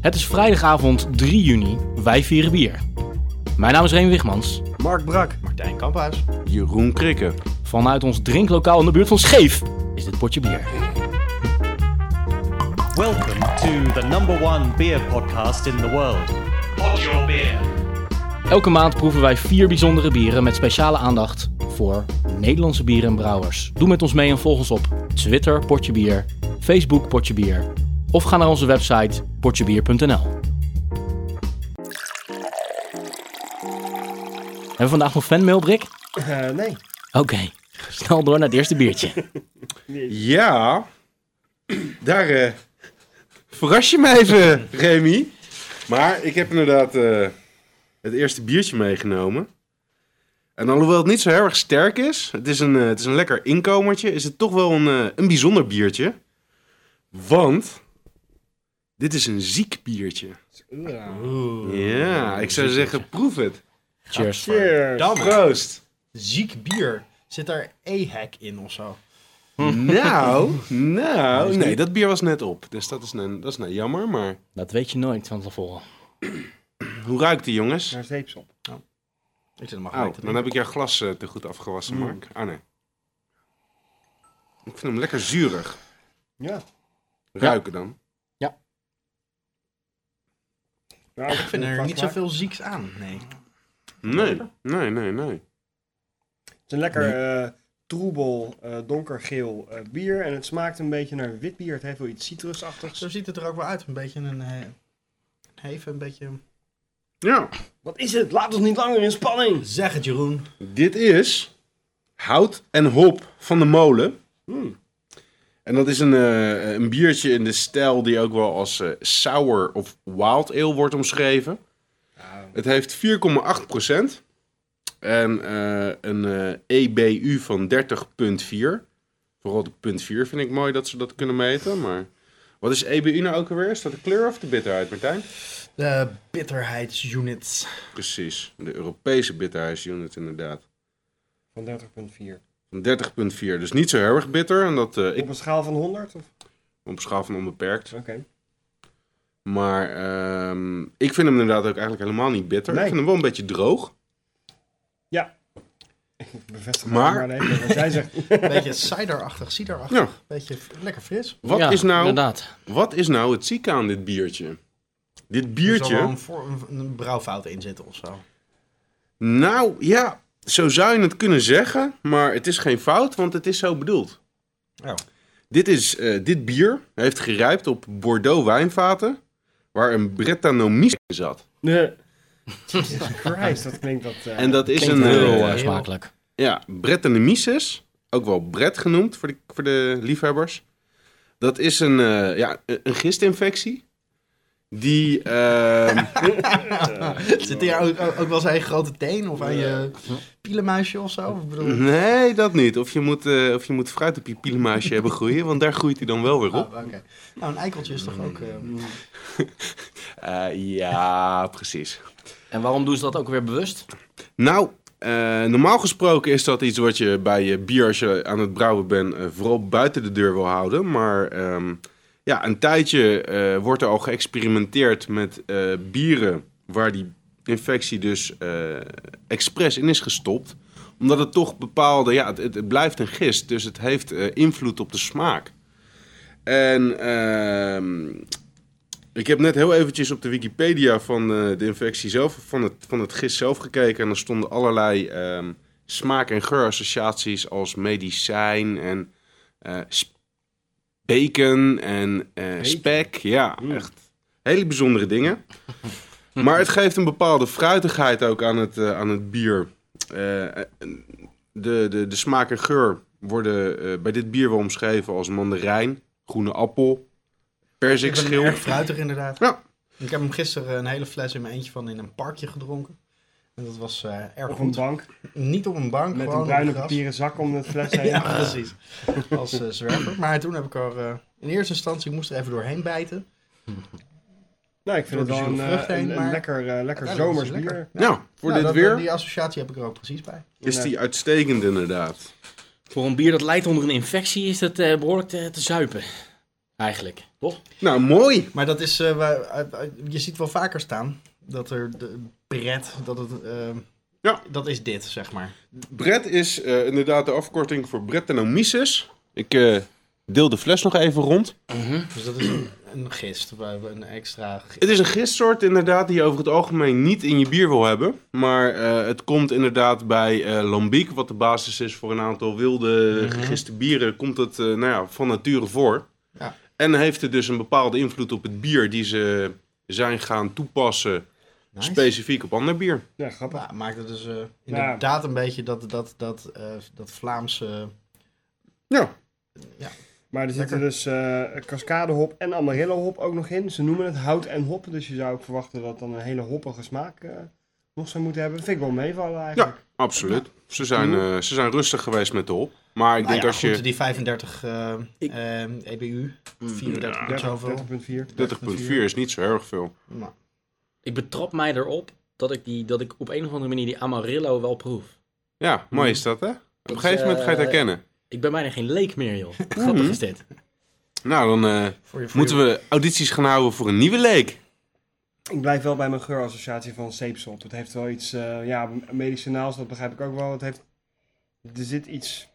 Het is vrijdagavond 3 juni. Wij vieren bier. Mijn naam is Reen Wigmans. Mark Brak. Martijn Kamphuis. Jeroen Krikke. Vanuit ons drinklokaal in de buurt van Scheef is dit potje bier. Welcome to the number one beer podcast in the world. Pod your beer. Elke maand proeven wij vier bijzondere bieren met speciale aandacht voor Nederlandse bieren en brouwers. Doe met ons mee en volg ons op Twitter Potje Bier, Facebook Potje Bier of ga naar onze website potjebier.nl. Hebben we vandaag nog fanmail, Brik? Eh, nee. Oké, snel door naar het eerste biertje. Ja, daar eh, verras je me even, Remy. Maar ik heb inderdaad eh, het eerste biertje meegenomen. En alhoewel het niet zo heel erg sterk is, het is een, eh, het is een lekker inkomertje, is het toch wel een, eh, een bijzonder biertje. Want dit is een ziek biertje. Ja, ik zou zeggen, proef het. Cheers. Cheers. Damn. Proost. Ziek bier. Zit daar E-hack in of zo? Nou, nou. Nee, dat bier was net op. Dus dat is, nou, dat is nou jammer, maar... Dat weet je nooit van tevoren. Hoe ruikt die, jongens? Naar zeepsop. Ik zit hem Oh, dan heb ik jouw glas eh, te goed afgewassen, Mm. Mark. Ah, nee. Ik vind hem lekker zuurig. Ja. Ruiken dan. Nou, Ik vind er het niet vast zoveel zieks aan. Nee. Nee, nee, nee, nee. maar. Het is een lekker eh, troebel, eh, donkergeel eh, bier. En het smaakt een beetje naar wit bier. Het heeft wel iets citrusachtigs. Zo ziet het er ook wel uit. Een beetje een eh, een heven, een beetje... Ja, Wat is het? Laat ons niet langer in spanning. Zeg het, Jeroen. dit is Hout en Hop van de Molen. En dat is een, eh, een biertje in de stijl die ook wel als eh, sour of wild ale wordt omschreven. Het heeft 4,8 procent. En eh, een eh, EBU van 30,4. Vooral de punt 4 vind ik mooi dat ze dat kunnen meten. Maar wat is EBU nou ook alweer? Is dat de kleur of de bitterheid, Martijn? De bitterheidsunits. Precies, de Europese bitterheidsunit inderdaad. Van 30,4. Van 30,4. Dus niet zo heel erg bitter. En dat eh, ik Op een schaal van 100? Of? op schaal van onbeperkt. Oké. Maar ehm, ik vind hem inderdaad ook eigenlijk helemaal niet bitter. Nee. Ik vind hem wel een beetje droog. Ja. Ik bevestig Maar- maar even wat jij zegt. Een beetje ciderachtig, ciderachtig. Ja. Beetje f- lekker fris. Wat, Ja, is nou, Inderdaad. wat is nou het zieke aan dit biertje? Dit Er zal biertje. wel een, voor, een, een brouwfout in zitten of zo. Nou ja, zo zou je het kunnen zeggen. Maar het is geen fout, want het is zo bedoeld. Ja. Dit, is, eh, dit bier heeft gerijpt op Bordeaux wijnvaten. Waar een Bretanomyces in zat. Nee. Jesus Christ, dat klinkt dat... eh, En dat is Klinkt een. heel eh, eh, smakelijk. Ja, Brettanomyces, ook wel Bret genoemd voor de, voor de liefhebbers. Dat is een, eh, ja, een een gistinfectie. Die, ehm, Zit hier ook, ook ook wel zijn grote teen of aan je pielenmuisje of zo? Ik bedoel, nee, dat niet. Of je, moet, eh, of je moet fruit op je pielenmuisje hebben groeien, want daar groeit hij dan wel weer Ah, op. oké. Nou, een eikeltje is toch ook... eh, Eh, ja, precies. En waarom doen ze dat ook weer bewust? Nou, eh, normaal gesproken is dat iets wat je bij je bier als je aan het brouwen bent eh, vooral buiten de deur wil houden. Maar ehm, ja, een tijdje eh, wordt er al geëxperimenteerd met eh, bieren waar die infectie dus eh, expres in is gestopt. Omdat het toch bepaalde, ja, het, het- het blijft een gist, dus het heeft eh, invloed op de smaak. En ehm, ik heb net heel eventjes op de Wikipedia van eh, de infectie zelf, van het, van het gist zelf gekeken. En er stonden allerlei ehm, smaak- en geurassociaties als medicijn en eh, s- bacon en eh, spek. Ja, echt hele bijzondere dingen. maar het geeft een bepaalde fruitigheid ook aan het, eh, aan het bier. Eh, eh, de, de, de smaak en geur worden eh, bij dit bier wel omschreven als mandarijn, groene appel, ik ben perzikschil. erg fruitig inderdaad. Ja. Ik heb hem gisteren een hele fles in mijn eentje van in een parkje gedronken. En dat was eh, erg Op een goed. bank Niet op een bank, met gewoon een bruine op het gras. papieren zak om de fles heen. Ja, precies. Als eh, zwerver. Maar toen heb ik er eh, in eerste instantie, ik moest er even doorheen bijten. Nou, ik vind het Door de wel een, zure eh, vrucht heen, een- een maar- lekker, eh, lekker Uiteindelijk was zomers het lekker. bier. Nou, voor Ja, dit dat- weer Die associatie heb ik er ook precies bij. is die uitstekend inderdaad. Voor een bier dat lijdt onder een infectie is dat eh, behoorlijk te, te zuipen. Eigenlijk. Toch? Nou, mooi. Maar dat is, eh, waar- uit- uit- je ziet wel vaker staan dat er de pret, dat het, eh, Ja. dat is dit, zeg maar. Brett is eh, inderdaad de afkorting voor Brettanomyces. Ik eh, deel de fles nog even rond. Dus dat is een, een gist, waar we een extra... gi- Het is een gistsoort inderdaad die je over het algemeen niet in je bier wil hebben. Maar eh, het komt inderdaad bij eh Lambiek, wat de basis is voor een aantal wilde gegiste bieren, komt het eh, nou ja, van nature voor. Ja. En heeft het dus een bepaalde invloed op het bier die ze zijn gaan toepassen Nice. specifiek op ander bier. Ja, grappig. Ja, maakt het dus eh, inderdaad een beetje dat, dat, dat, eh, dat Vlaamse... Ja, Maar er zitten Lekker. dus eh cascadehop en amarillo hop ook nog in. Ze noemen het hout en hop. Dus je zou ook verwachten dat dan een hele hoppige smaak eh, nog zou moeten hebben. Vind ik wel meevallen eigenlijk. ja absoluut. Ze, zijn, eh, ze zijn rustig geweest met de hop. Maar ik Nou denk ja, als goed, je die 35 eh, eh, EBU, 34 punt zoveel. 30.4. 30.4 is niet zo erg veel. Nou, Ik betrap mij erop dat ik, die, dat ik op een of andere manier die Amarillo wel proef. Ja, mooi is Hm. dat hè? Op een is, gegeven moment ga je het eh, herkennen. Ik ben bijna geen leek meer, joh. Grappig is dit. Nou, dan eh, voor je, voor moeten je- we audities gaan houden voor een nieuwe leek. Ik blijf wel bij mijn geurassociatie van zeepsop. Het heeft wel iets eh, ja, medicinaals, dat begrijp ik ook wel. Het heeft, er zit iets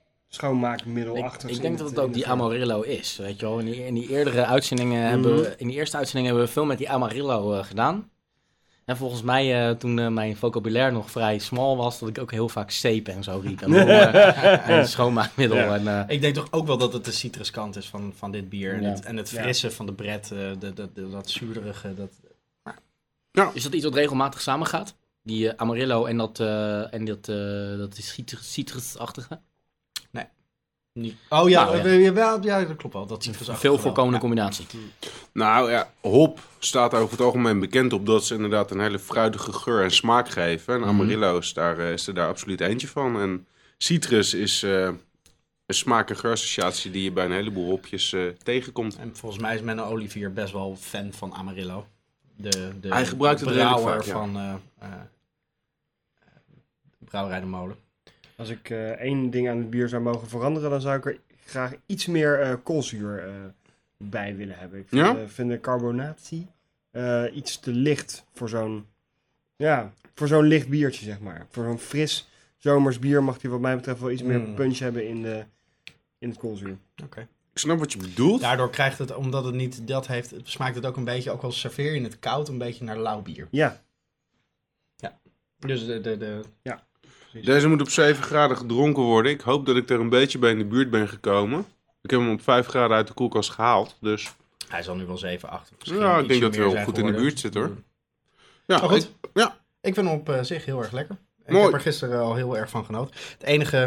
Ik, schoonmaakmiddelachtigs ik in denk dat het in ook die het, eh, Amarillo is, weet je wel. In die, in die eerdere uitzendingen hebben we, in die eerste uitzending hebben we veel met die Amarillo eh, gedaan. En volgens mij, eh, toen eh, mijn vocabulaire nog vrij smal was, dat ik ook heel vaak zeep en zo riep. En, rollen en schoonmaakmiddel. Ja. En, eh, Ik denk toch ook wel dat het de citruskant is van, van dit bier. En Ja. het, en het Ja. frisse van de bret, eh, de, de, de- dat zuurderige. Dat... is dat iets wat regelmatig samengaat? Die eh, Amarillo en dat, eh en dat, eh, dat is citrus- citrusachtige. Niet... Oh ja, Nou, ja. eh, jawel, ja. dat klopt wel. Dat citrusachtige Veel wel. voorkomende combinatie. Nou ja, hop staat daar over het algemeen bekend op dat ze inderdaad een hele fruitige geur en smaak geven. En Amarillo is, daar, eh, is er daar absoluut eentje van. En citrus is eh, een smaak- en geurassociatie die je bij een heleboel hopjes eh, tegenkomt. En volgens mij is Menno Olivier best wel fan van Amarillo. De, de Hij gebruikt het redelijk brouwer vaak, ja. van eh eh, Brouwerij de Molen. Als ik eh, één ding aan het bier zou mogen veranderen, dan zou ik er graag iets meer eh, koolzuur eh, bij willen hebben. Ik vind, Ja? eh, vind de carbonatie eh, iets te licht voor zo'n ja, voor zo'n licht biertje, zeg maar. Voor zo'n fris zomers bier mag die wat mij betreft wel iets meer Mm. punch hebben in, de, in het koolzuur. Ik snap wat je bedoelt. Daardoor krijgt het, omdat het niet dat heeft, het smaakt het ook een beetje, ook al serveer je het koud, een beetje naar lauw bier. Ja, Dus de, de, de... Deze moet op 7 graden gedronken worden. Ik hoop dat ik er een beetje bij in de buurt ben gekomen. Ik heb hem op 5 graden uit de koelkast gehaald. Dus Hij zal nu wel 7, 8 of misschien ja, ik ietsje denk dat meer hij wel zijn goed in de geworden. buurt zit hoor. Ja, Maar goed. Nou, ik- ja. Ik vind hem op eh, zich heel erg lekker. Mooi. Ik heb er gisteren al heel erg van genoten. Het enige,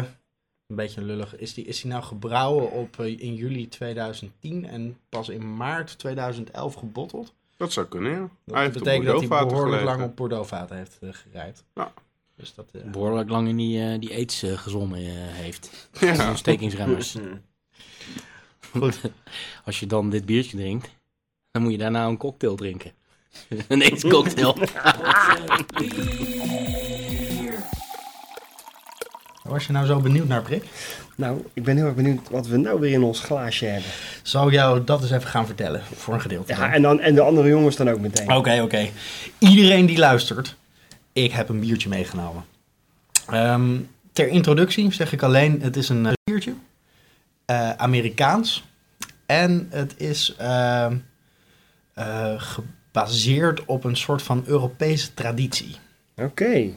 een beetje lullig, is die, is die nou gebrouwen op, eh, in juli 2010 en pas in maart 2011 gebotteld. Dat zou kunnen, ja. Dat hij heeft op betekent dat hij Bordeauxvaten behoorlijk gelegen. lang op Bordeaux-vaten heeft eh, gerijpt. Ja. Dus dat, eh, Behoorlijk lang in die, eh, die aids eh, gezongen eh, heeft. Ja. Ontstekingsremmers. Goed. Als je dan dit biertje drinkt, dan moet je daarna een cocktail drinken. een aids cocktail. was je nou zo benieuwd naar, Prik? nou, ik ben heel erg benieuwd wat we nou weer in ons glaasje hebben. Zou jou dat eens even gaan vertellen, voor een gedeelte. dan? Ja, en, dan, en de andere jongens dan ook meteen. Oké, oké. Iedereen die luistert, ik heb een biertje meegenomen. Ehm, ter introductie zeg ik alleen, het is een eh, biertje. eh, Amerikaans. En het is ehm, eh, gebaseerd op een soort van Europese traditie. Oké.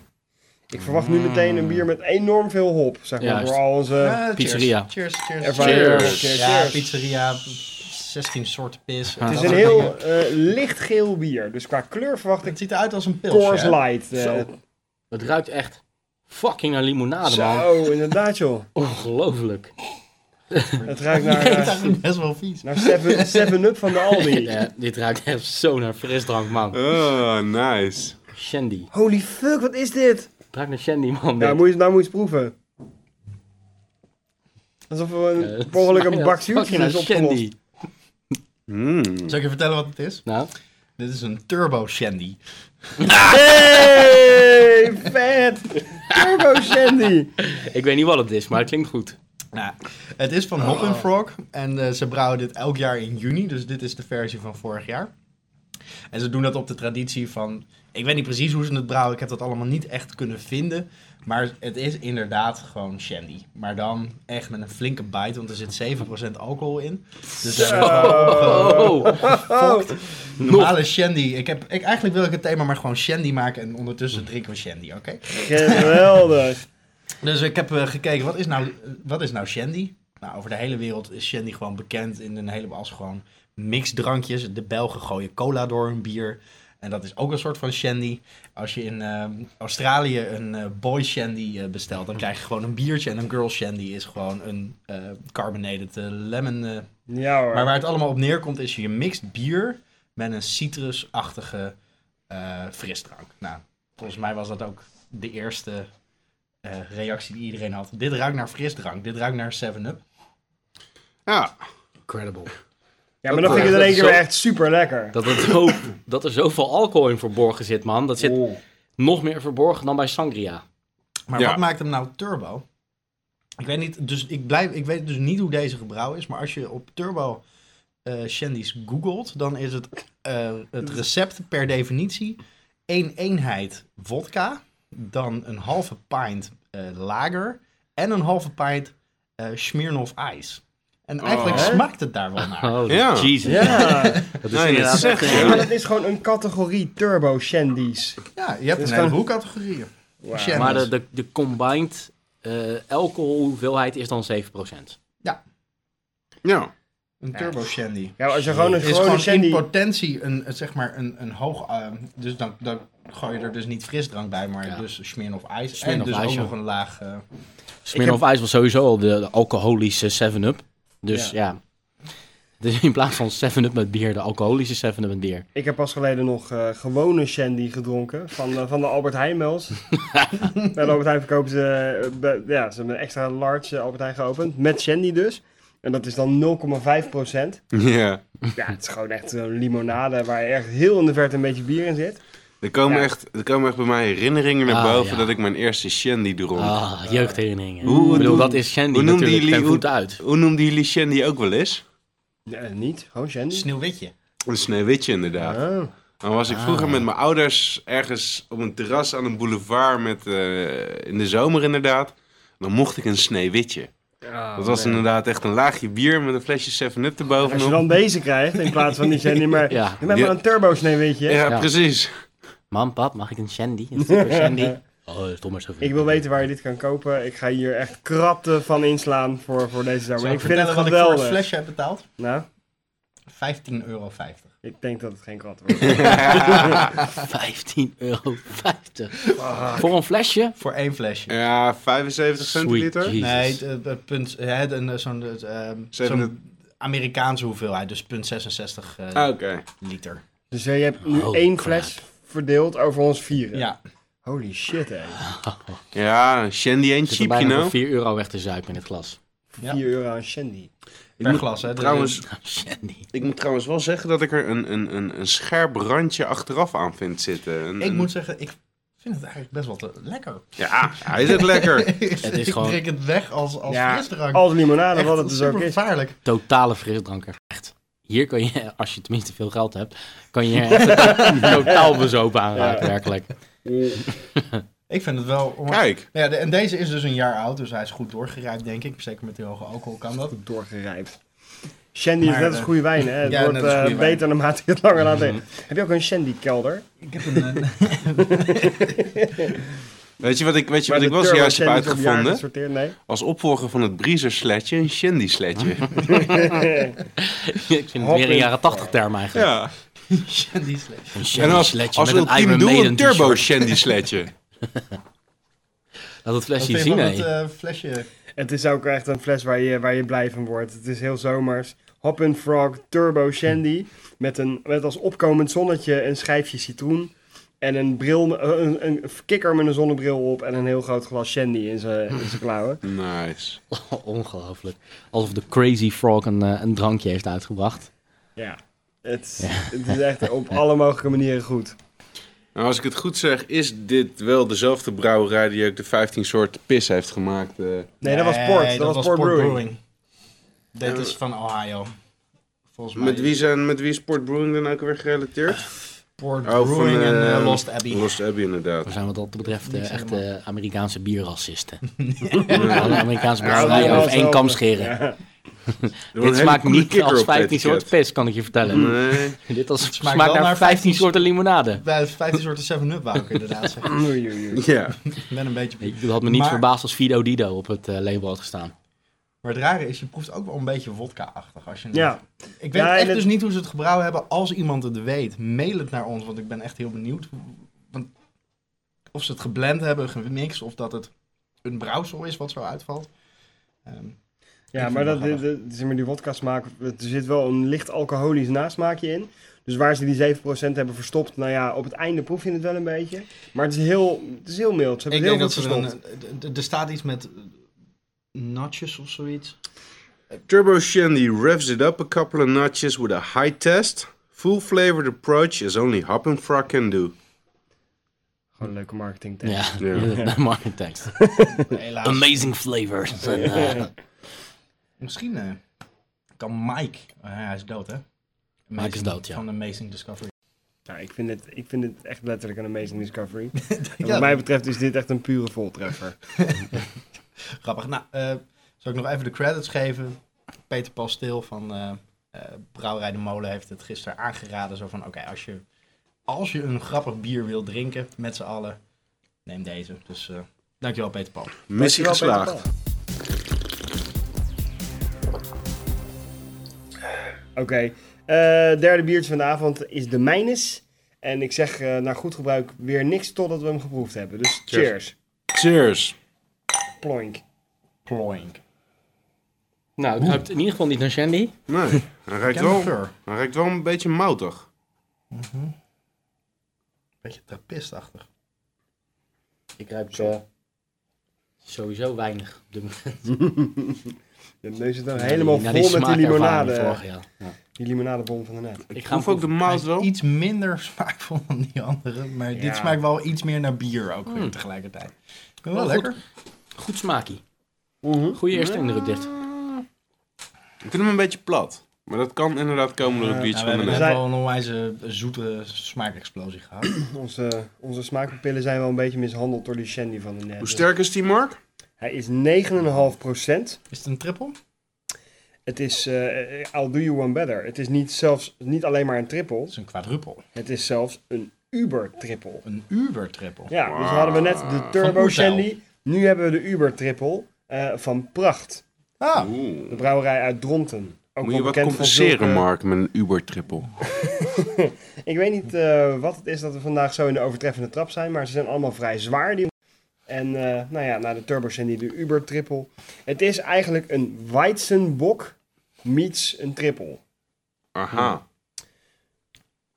Ik verwacht nu meteen een bier met enorm veel hop, zeg maar, Juist. voor al onze... Eh, cheers. pizzeria. Cheers, cheers, Ervaring. Cheers. Cheers. Ja, Cheers. pizzeria, 16 soorten Het pis. Het Dat is is een heel eh, lichtgeel bier. Dus qua kleur verwacht ik Het ziet eruit als een pils. Coors ja. Light. eh. Zo. Het ruikt echt fucking naar limonade, man. Zo, inderdaad joh. Ongelooflijk. Het ruikt naar, Het is eh, eigenlijk best wel vies. naar 7 7 Up van de Aldi. Eh, dit ruikt echt zo naar frisdrank, man. Oh, nice. Shandy. Holy fuck, wat is dit? Het ruikt naar shandy, man. Nou, dit. moet je, nou moet je eens proeven. Alsof we Eh, een, het per ongeluk een smaakt bak fucking zuurtjes naar is opgelost. shandy. Mm. Zal ik je vertellen wat het is? Nou, Dit is een turbo shandy. Hey, vet! Turbo Shandy! ik weet niet wat het is, maar het klinkt goed. Nou, het is van Hop and Frog en eh, ze brouwen dit elk jaar in juni, dus dit is de versie van vorig jaar. En ze doen dat op de traditie van, ik weet niet precies hoe ze het brouwen, ik heb dat allemaal niet echt kunnen vinden, maar het is inderdaad gewoon shandy. Maar dan echt met een flinke bite, want er zit 7% alcohol in. Dus ze hebben gewoon- gewoon Oh, gefokt. Normale shandy, ik heb, ik, eigenlijk wil ik het thema maar gewoon shandy maken en ondertussen drinken we shandy, oké? Geweldig. Dus ik heb eh, gekeken, wat is, nou, wat is nou shandy? Nou, over de hele wereld is shandy gewoon bekend in een heleboel als gewoon mixdrankjes. De Belgen gooien cola door hun bier. En dat is ook een soort van shandy. Als je in eh, Australië een eh, boy shandy eh, bestelt, dan krijg je gewoon een biertje. En een girl shandy is gewoon een eh, carbonated eh, lemon. eh. Ja hoor. Maar waar het allemaal op neerkomt, is je mixt bier met een citrusachtige eh, frisdrank. Nou, volgens mij was dat ook de eerste eh, reactie die iedereen had. Dit ruikt naar frisdrank, dit ruikt naar 7-Up. Ja, incredible. ja, maar dan vind ik het in één keer weer echt super lekker. Dat, het zo, dat er zoveel alcohol in verborgen zit, man. Dat zit Oh. nog meer verborgen dan bij sangria. Maar Ja. wat maakt hem nou turbo? Ik weet, niet, dus ik, blijf, ik weet dus niet hoe deze gebrouwen is, maar als je op turbo eh shandies googelt, dan is het, eh, het recept per definitie één eenheid vodka, dan een halve pint eh, lager en een halve pint eh Smirnoff ijs. En eigenlijk Oh. smaakt het daar wel naar. Oh, Ja. Jesus. Ja. Dat is Nee, dat inderdaad is echt, echt- Ja, maar ja. dat is gewoon een categorie turbo shandies. Ja, je hebt Dus een gewoon- heleboel categorieën. Shandies. Maar de, de, de combined eh alcoholhoeveelheid is dan 7%. ja. Een turbo shandy. Ja, als je gewoon een is gewoon gewone shandy... in potentie een, een- zeg maar een, een hoog... eh, dus dan, dan gooi je er dus niet frisdrank bij, maar Ja. dus Smirnoff Ice. Smirnoff en dus Ice, ook ja. nog een laag... eh, Smirnoff Ice was sowieso al de, de alcoholische 7-Up. Dus ja. Dus in plaats van 7-Up met bier, de alcoholische 7-Up met bier. Ik heb pas geleden nog eh, gewone shandy gedronken van, eh, van de Albert Heijmels. Bij de Albert Heijn verkopen ze... eh, bij- ja, ze hebben een extra large eh, Albert Heijn geopend. Met shandy dus. En dat is dan 0,5 ja. Ja, het is gewoon echt een limonade waar echt heel in de verte een beetje bier in zit. Er komen, Ja. echt, er komen echt bij mij herinneringen naar Ah, boven ja. dat ik mijn eerste shandy dronk. Ah, jeugdherinneringen. Hoe ik bedoel, noem- dat is Shandy hoe noemden natuurlijk ten jullie- voet uit. Hoe noemden jullie shandy ook wel eens? Nee, eh, niet, gewoon shandy. Sneeuwwitje. Een sneeuwwitje inderdaad. Ah. Oh. Dan was ik vroeger met mijn ouders ergens op een terras aan een boulevard met, eh, in de zomer inderdaad. Dan mocht ik een sneeuwwitje. dat was inderdaad echt een laagje bier met een flesje 7-Up Als je erbovenop. dan deze krijgt in plaats van die shandy, maar... Ja. Je bent wel een turbo sneeuwwitje. Ja, Ja. precies. Mam, pap, mag ik een Shandy? Een super Shandy? Oh, stom maar zoveel. Ik wil weten waar je dit kan kopen. Ik ga hier echt kratten van inslaan voor, voor deze zomer. Zal ik vind het vertellen wat ik voor geweldig. een flesje heb betaald? Nou, 15,50 euro. ik denk dat het geen krat wordt. 15,50 euro. Voor een flesje? Voor één flesje. Ja, 75 centiliter. Sweet Jesus. Nee, het, eh, het punt, eh, het- een, eh, zo'n eh, zo'n Amerikaanse hoeveelheid, dus punt 66 eh, Ah, Oké. liter. Dus eh, je hebt nu Oh, één crap. fles verdeeld over ons vieren. Ja, Holy shit, hé. Ja, een shandy en Ik zit er cheap, you bijna voor know. 4 euro weg te zuipen in het glas. Ja. 4 euro aan shandy. per glas. Hè, Trouwens, Oh, Shandy. ik moet trouwens wel zeggen dat ik er een, een, een, een scherp randje achteraf aan vind zitten. Een- Mm. Dus ik een- moet zeggen, ik vind het eigenlijk best wel te- lekker. Ja, hij is het lekker. Het is ik gewoon- drink het weg als, als frisdrank. als limonade, Echt wat het dus ook is. supergevaarlijk. Totale frisdranker. Echt. Hier kan je, als je tenminste veel geld hebt, kan je echt totaal bezopen aanraken, werkelijk. Mm. Ik vind het wel... onwijs- Kijk, Nou Ja, de- en deze is dus een jaar oud, dus hij is goed doorgerijpt, denk ik. Zeker met die hoge alcohol kan dat. Doorgerijpt. Shandy is Maar, net als eh, goede wijn, hè. Het ja, wordt net als eh, goede wijn. Mhm. beter naarmate je het langer laat liggen. Heb je ook een shandy-kelder? Ik heb een... eh, weet je wat ik, weet je Waar wat ik de wel turbo zojuist heb shandy wordt uitgevonden? gesorteerd? Nee. Als opvolger van het Breezer-sletje, een Shandy-sletje. Ik vind het weer een jaren 80 term eigenlijk. ja. Shandy Slash. Een En als, Shandy-sletje als met een ultiem Iron doel Maiden een turbo t-shirt. Shandy-sletje. Laat het Wat flesje vind je zien, van hé. dat eh, flesje? Het is ook echt een fles waar je, waar je blij van wordt. Het is heel zomers. Hop and Frog Turbo Shandy. Met, een, met als opkomend zonnetje een schijfje citroen. En een, bril, eh, een, een kikker met een zonnebril op. En een heel groot glas Shandy in zijn in zijn klauwen. Nice. Ongelooflijk. Alsof de Crazy Frog een, eh, een drankje heeft uitgebracht. Ja. Het, het is echt op alle mogelijke manieren goed. Oké, Nou, als ik het goed zeg, is dit wel dezelfde brouwerij die ook de 15 soorten pis heeft gemaakt. eh. Nee, dat was Port. dat, was, Port, Brewing. Dat is van Ohio. Volgens mij. Eh, met, wie zijn, met wie is Port Brewing dan ook weer gerelateerd? Port Oh, van, Brewing en eh, eh, Lost Abbey. Lost Abbey, inderdaad. We zijn wat dat betreft eh, Niks echt helemaal. eh, Amerikaanse bierracisten. Alle Amerikaanse brouwerijen Ja, over één wel. kam scheren. Ja. Doe een Dit hele smaakt coole niet kikker als op Mm. het 15 soorten etiket. pis, kan ik je vertellen. Nee. Dit als, smaakt, smaakt wel naar naar 15 15 soorten limonade. Bij 15 soorten 7-Up wou ik inderdaad zeggen. Oei, oei, oei. Ja. Met een beetje... Ik bedoel, had me niet Maar- verbaasd als Fido Dido op het eh, label had gestaan. Maar het rare is, je proeft ook wel een beetje wodka-achtig. Als je het- Ja, Ik weet Ja, echt en het- dus niet hoe ze het gebrouwen hebben. Als iemand het weet, mail het naar ons. Want ik ben echt heel benieuwd. hoe- Want of ze het geblend hebben, gemixt. Of dat het een brouwsel is wat zo uitvalt. Ehm, ja vind maar, het dat, wel dit, dit- zeg maar die wodka smaak, er zit wel een licht alcoholisch nasmaakje in. Dus waar ze die 7% hebben verstopt, nou ja, op het einde proef je het wel een beetje. Maar het is heel, het is heel mild. Ze ik hebben denk heel veel dat ze dan... verstopt. eh, d- d- Er staat iets met natjes of zoiets. Turbo Shandy revs it up a couple of notches with a high test. Full flavored approach is only Hop and Frog can do. eh, Gewoon een leuke marketing Ja, Ja. de marketingtekst. Helaas. Amazing flavor. En, eh, Misschien eh, kan Mike... eh, hij is dood, hè? Amazing- is dood, ja. Van de Amazing Discovery. Nou, ik, vind het, ik vind het echt letterlijk een amazing discovery. En Ja. Wat mij betreft is dit echt een pure voltreffer. Grappig. Nou, eh, zal ik nog even de credits geven? Peter Paul Stil van eh eh, Brouwerij de Molen heeft het gisteren aangeraden. Zo van, oké, als, je, als je een grappig bier wil drinken met z'n allen, neem deze. Dus eh, dankjewel Peter Paul. Missie Dankjewel, Peter geslaagd. Oké, eh, derde biertje van de avond is de Mijnes. En ik zeg eh naar goed gebruik weer niks totdat we hem geproefd hebben. Dus cheers. Cheers. Cheers. Ploink. Ploink. nou, het ruikt in ieder geval niet naar Shandy. Nee, hij ruikt, wel, Camphor. hij ruikt wel een beetje moutig. Beetje trappistachtig. Ik ruik eh, sowieso weinig. op dit moment. De neus zit dan helemaal Na vol met die smaakervaring limonade. vorig jaar. Ja. Die limonadebom van daarnet. Ik ga Proef hem ook de Hij mout is Ah, wel. iets minder smaakvol dan die andere, maar Ja. dit smaakt wel iets meer naar bier ook weer Mm. tegelijkertijd. Ik vind het wel Wel goed. lekker. Goed smaakie. Mhm. Goede eerste indruk dit. Ik vind hem een beetje plat. Maar dat kan inderdaad komen door het biertje Nou, we van de hebben net net. net. wel een onwijze zoete smaakexplosie gehad. Onze, onze smaakpapillen zijn wel een beetje mishandeld door die shandy van daarnet. Hoe sterk is die, Mark? Hij is 9,5%. Is het een triple? Het is, eh, I'll do you one better. Het is niet, zelfs, niet alleen maar een triple. Het is een quadruple. Het is zelfs een uber triple. Een Uber-triple. Ja, dus hadden we net de turbo Oertel. shandy. Nu hebben we de uber triple eh, van Pracht. Ah, De brouwerij uit Dronten. Ook Moet wel je wat bekend van compenseren, zulke- Mark, met een Uber-trippel. Ik weet niet eh, wat het is dat we vandaag zo in de overtreffende trap zijn, maar ze zijn allemaal vrij zwaar. Die... En eh, nou ja, na de Turbo Sandy de Uber Triple. Het is eigenlijk een Weizenbok meets een triple. Aha.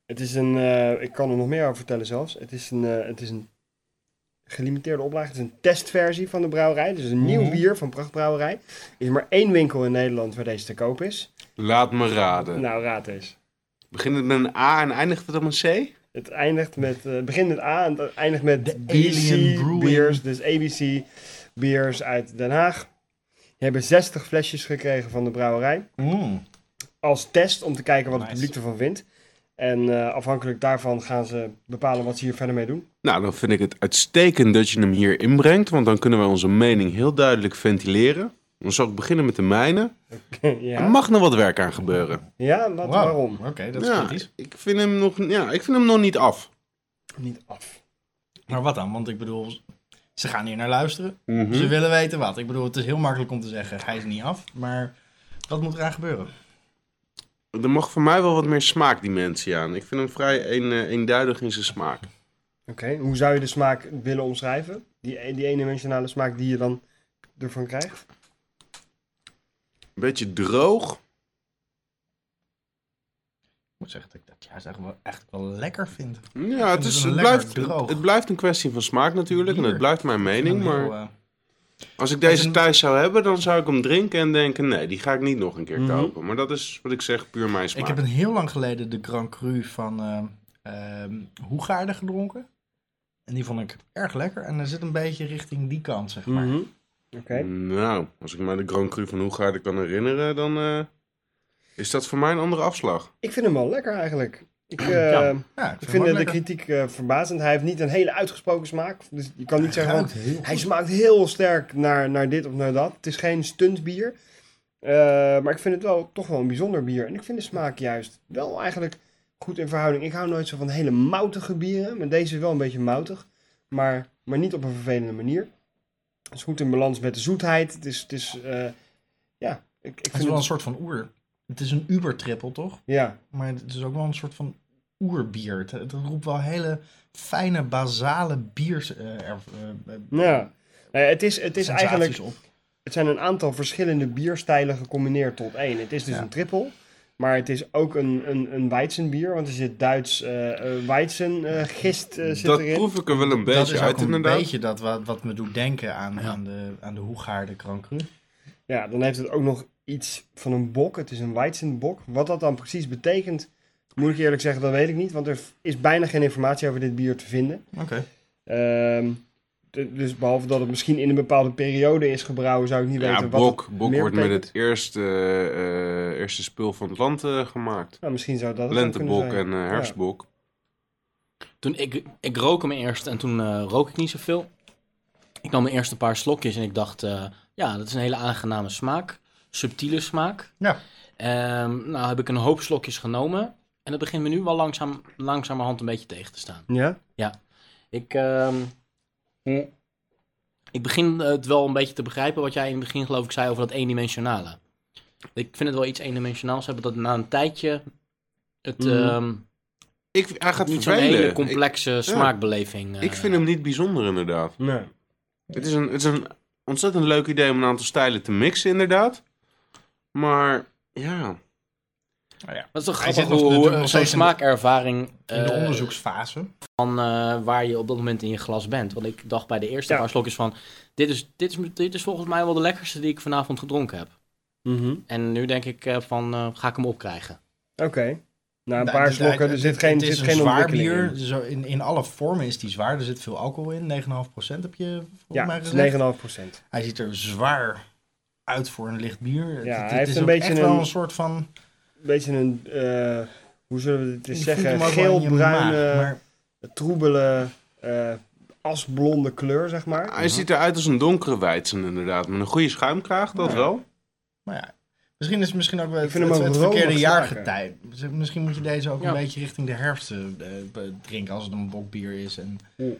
Het is een, eh, ik kan er nog meer over vertellen zelfs. Het is een, eh, het is een gelimiteerde oplage. Het is een testversie van de brouwerij. Dus een nieuw Mhm. bier van Prachtbrouwerij. Er is maar één winkel in Nederland waar deze te koop is. Laat me raden. Nou, raad eens. Begint het met een A en eindigt het op een C? Het eindigt met, eh, het begint met A en het eindigt met De ABC Alien Brewing. Beers. Dus ABC Beers uit Den Haag. Die hebben 60 flesjes gekregen van de brouwerij. mm. Als test om te kijken wat het Nice. publiek ervan vindt. En eh, afhankelijk daarvan gaan ze bepalen wat ze hier verder mee doen. Nou, dan vind ik het uitstekend dat je hem hier inbrengt, want dan kunnen wij onze mening heel duidelijk ventileren. Dan zal ik beginnen met de mijne. Er ja, mag nog wat werk aan gebeuren. ja dat, Wauw. waarom? Oké, dat is ja, kritisch. ik vind hem nog, ja, ik vind hem nog niet af. Niet af. Maar wat dan? Want ik bedoel, ze gaan hier naar luisteren. Mhm. Ze willen weten wat. Ik bedoel, het is heel makkelijk om te zeggen, hij is niet af. Maar wat moet eraan gebeuren? Er mag voor mij wel wat meer smaakdimensie aan. Ik vind hem vrij een, eh, eenduidig in zijn smaak. Oké, hoe zou je de smaak willen omschrijven? Die, die eendimensionale smaak die je dan ervan krijgt? Een beetje droog. Ik moet zeggen dat ik dat juist echt wel, echt wel lekker vind. Ja, het, het is, wel het, lekker blijft, droog. het blijft een kwestie van smaak natuurlijk. En Bier. het blijft mijn mening. Een heel, Maar eh, als ik is deze een- thuis zou hebben, dan zou ik hem drinken en denken... nee, die ga ik niet nog een keer Mhm. kopen. Maar dat is wat ik zeg, puur mijn smaak. ik heb een heel lang geleden de Grand Cru van eh, ehm hoegaarden gedronken. En die vond ik erg lekker. En er zit een beetje richting die kant, zeg maar. Mhm. Oké. Nou, als ik me de Grand Cru van Hoegaarden kan herinneren, dan eh, is dat voor mij een andere afslag. Ik vind hem wel lekker eigenlijk. Ik, eh, Ja, Ja, ik hem vind ook de lekker. kritiek eh, verbazend. Hij heeft niet een hele uitgesproken smaak. Dus je kan niet zeggen, van, ruikt heel hij goed. smaakt heel sterk naar, naar dit of naar dat. Het is geen stuntbier. Eh, maar ik vind het wel toch wel een bijzonder bier. En ik vind de smaak juist wel eigenlijk goed in verhouding. Ik hou nooit zo van hele moutige bieren. Maar deze is wel een beetje moutig. Maar, maar niet op een vervelende manier. Het is goed in balans met de zoetheid. Het is, het is eh, ja, ik, ik Het is vind wel een het... soort van oer. Het is een Uber-trippel, toch? Ja, Maar het is ook wel een soort van oerbier. Het, het roept wel hele fijne, basale biers eh, er- eh, eh, ja. Nou ja, het is, het is sensaties eigenlijk op. Het zijn een aantal verschillende bierstijlen gecombineerd tot één. Het is dus Ja. een trippel, maar het is ook een, een, een Weizenbier, want er zit Duits eh Weizengist zit dat erin. proef ik er wel een Dat beetje is uit, ook een inderdaad. beetje dat wat, wat me doet denken aan, aan de, aan de Hoegaarde Krankru. Ja, dan heeft het ook nog iets van een bok. Het is een Weizenbok. Wat dat dan precies betekent, moet ik eerlijk zeggen, dat weet ik niet. Want er is bijna geen informatie over dit bier te vinden. Oké. Ehm, d- dus behalve dat het misschien in een bepaalde periode is gebrouwen, zou ik niet Ja, weten wat Bok, het Bok meer wordt met betekent. het eerste, eh, eerste spul van het land eh, gemaakt. Nou, misschien zou dat het ook kunnen Lentebok zijn. en eh, herfstbok. Toen ik, ik rook hem eerst en toen eh, rook ik niet zoveel. Ik nam mijn eerste paar slokjes en ik dacht, eh, ja, dat is een hele aangename smaak. Subtiele smaak. Ja. Ehm, nou heb ik een hoop slokjes genomen. En het begint me nu wel langzaam, langzamerhand een beetje tegen te staan. Ja? Ik, ehm, mm, ik begin het wel een beetje te begrijpen wat jij in het begin geloof ik zei over dat eendimensionale. Ik vind het wel iets eendimensionaals hebben dat na een tijdje het Mhm. ehm, Ik, hij Mm. gaat niet zo'n vervelen. hele Ik- complexe eh, smaakbeleving. Ik vind hem niet bijzonder, inderdaad. Nee. Het is, een, het is een ontzettend leuk idee om een aantal stijlen te mixen, inderdaad. Maar ja, Dat is toch Hij grappig zit hoe, nog- natuurlijk hoe zo'n nog steeds in de- smaakervaring In de eh, onderzoeksfase. van eh, waar je op dat moment in je glas bent. Want ik dacht bij de eerste Ja. paar slokjes van... Dit is, dit, is, dit is volgens mij wel de lekkerste die ik vanavond gedronken heb. Mhm. En nu denk ik eh, van, eh, ga ik hem opkrijgen? Oké. Na een Nou, paar het- slokken, het- er zit geen, Het er is zit een geen zwaar ontwikkeling bier. in. Zo in, in alle vormen is die zwaar. Er zit veel alcohol in. 9,5% heb je volgens Ja, mij het is gezegd. 9,5 Hij ziet er zwaar uit voor een licht bier. Het- hij het, heeft is een ook beetje echt wel een- een soort van... Beetje een, eh, hoe zullen we het eens je voelt zeggen, hem ook wel in je maag, geel-bruine, maar troebele, eh, asblonde kleur, zeg maar. hij ziet eruit als een donkere wijtsen, inderdaad. Met een goede schuimkraag, dat wel. Maar Nou ja, misschien is het misschien ook wel het, vind hem het- ook het romig verkeerde smaken. jaargetij. Dus Misschien moet je deze ook Ja. een beetje richting de herfst eh, be- drinken als het een bokbier is. En Oeh.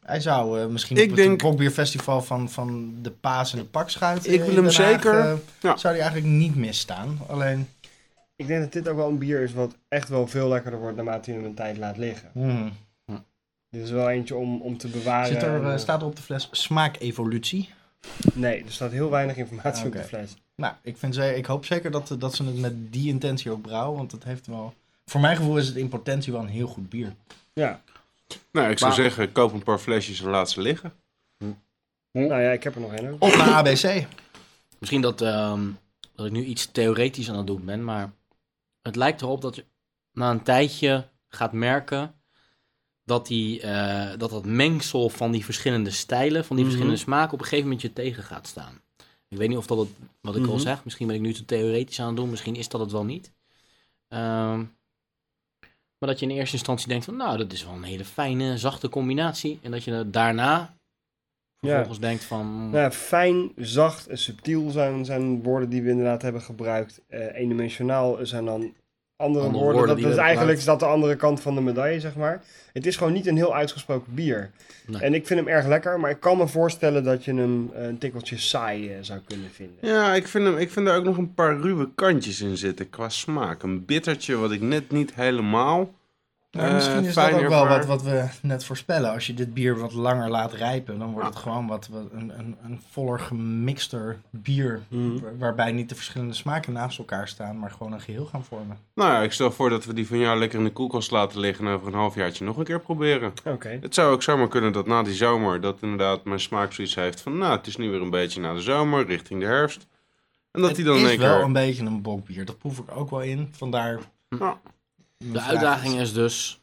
Hij zou eh, misschien Ik op denk- het bokbierfestival van, van de Paas en de Pakschuit. eh, Ik wil in hem Den Haag, zeker. eh, Ja. Zou die eigenlijk niet misstaan. Alleen, Ik denk dat dit ook wel een bier is wat echt wel veel lekkerder wordt naarmate je hem een tijd laat liggen. hmm, Dit is wel eentje om, om te bewaren. zit er, en, eh, eh, staat er op de fles smaakevolutie. Nee, er staat heel weinig informatie op Oké. de fles. Nou, ik, vind ze, ik hoop zeker dat, dat ze het met die intentie ook brouwen. Want het heeft wel... Voor mijn gevoel is het in potentie wel een heel goed bier. Ja, Nou, ik zou Maar- zeggen, koop een paar flesjes en laat ze liggen. nou ja, ik heb er nog één ook. Op naar ABC. Misschien dat, ehm, dat ik nu iets theoretisch aan het doen ben, maar het lijkt erop dat je na een tijdje gaat merken dat, die, eh, dat dat mengsel van die verschillende stijlen, van die Mhm. verschillende smaken, op een gegeven moment je tegen gaat staan. Ik weet niet of dat het, wat ik al Mhm. zeg, misschien ben ik nu te theoretisch aan het doen, misschien is dat het wel niet. Ehm, maar dat je in eerste instantie denkt van, nou, dat is wel een hele fijne, zachte combinatie. En dat je daarna vervolgens denkt van... hmm, Nou, ja, fijn, zacht en subtiel zijn, zijn woorden die we inderdaad hebben gebruikt. Eh, eendimensionaal zijn dan Andere andere, woorden. woorden Dat, die dat we is gebruikt. eigenlijk is dat de andere kant van de medaille, zeg maar. Het is gewoon niet een heel uitgesproken bier. Nee. En ik vind hem erg lekker, maar ik kan me voorstellen dat je hem eh, een tikkeltje saai eh, zou kunnen vinden. Ja, ik vind, hem, ik vind er ook nog een paar ruwe kantjes in zitten qua smaak. Een bittertje wat ik net niet helemaal... Maar eh, misschien is dat fijn ook wel ervaar. wat, wat we net voorspellen. Als je dit bier wat langer laat rijpen, dan wordt het gewoon wat, wat een, een, een voller gemixter bier. Mhm. Waar- waarbij niet de verschillende smaken naast elkaar staan, maar gewoon een geheel gaan vormen. Nou ja, ik stel voor dat we die van jou lekker in de koelkast laten liggen... en over een halfjaartje nog een keer proberen. Oké. Het zou ook zomaar kunnen dat na die zomer, dat inderdaad mijn smaak zoiets heeft van, nou, het is nu weer een beetje na de zomer, richting de herfst. En dat het die dan in is één wel keer... een beetje een bokbier. Dat proef ik ook wel in. Vandaar. Ja. De uitdaging is dus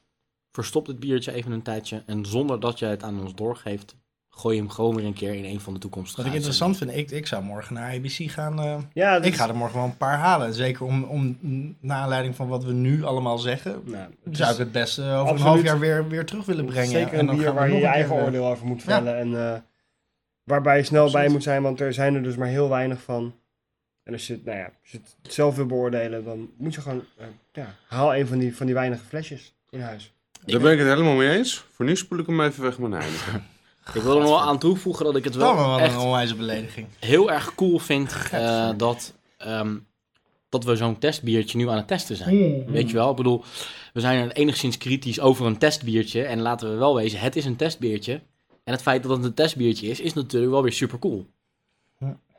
Verstop dit biertje even een tijdje. En zonder dat jij het aan ons doorgeeft, gooi je hem gewoon weer een keer in een van de toekomstige Wat ik interessant vind, ik, ik zou morgen naar ABC gaan. eh, Ja, dat ik is- ga er morgen wel een paar halen. Zeker om, om mm, naar aanleiding van wat we nu allemaal zeggen. Nou, het zou ik is het best eh, over absoluut. een half jaar weer, weer terug willen brengen. zeker En een dan bier gaan we waar je nog je een eigen keer, eh, oordeel over moet Ja. vellen. En eh, waarbij je snel bij Precies. moet zijn, want er zijn er dus maar heel weinig van. En als je, het- nou ja, als je het zelf wil beoordelen, dan moet je gewoon... eh, ja, haal een van die, van die weinige flesjes in huis. Daar ben ik het helemaal mee eens. Voor nu spoel ik hem even weg met mijn Heineken. Ik wil er nog wel aan toevoegen dat ik het wel Oh, maar wat echt een onwijze belediging. heel erg cool vind eh, dat, ehm, dat we zo'n testbiertje nu aan het testen zijn. Weet je wel? Ik bedoel, we zijn er enigszins kritisch over een testbiertje. En laten we wel wezen, het is een testbiertje. En het feit dat het een testbiertje is, is natuurlijk wel weer super cool.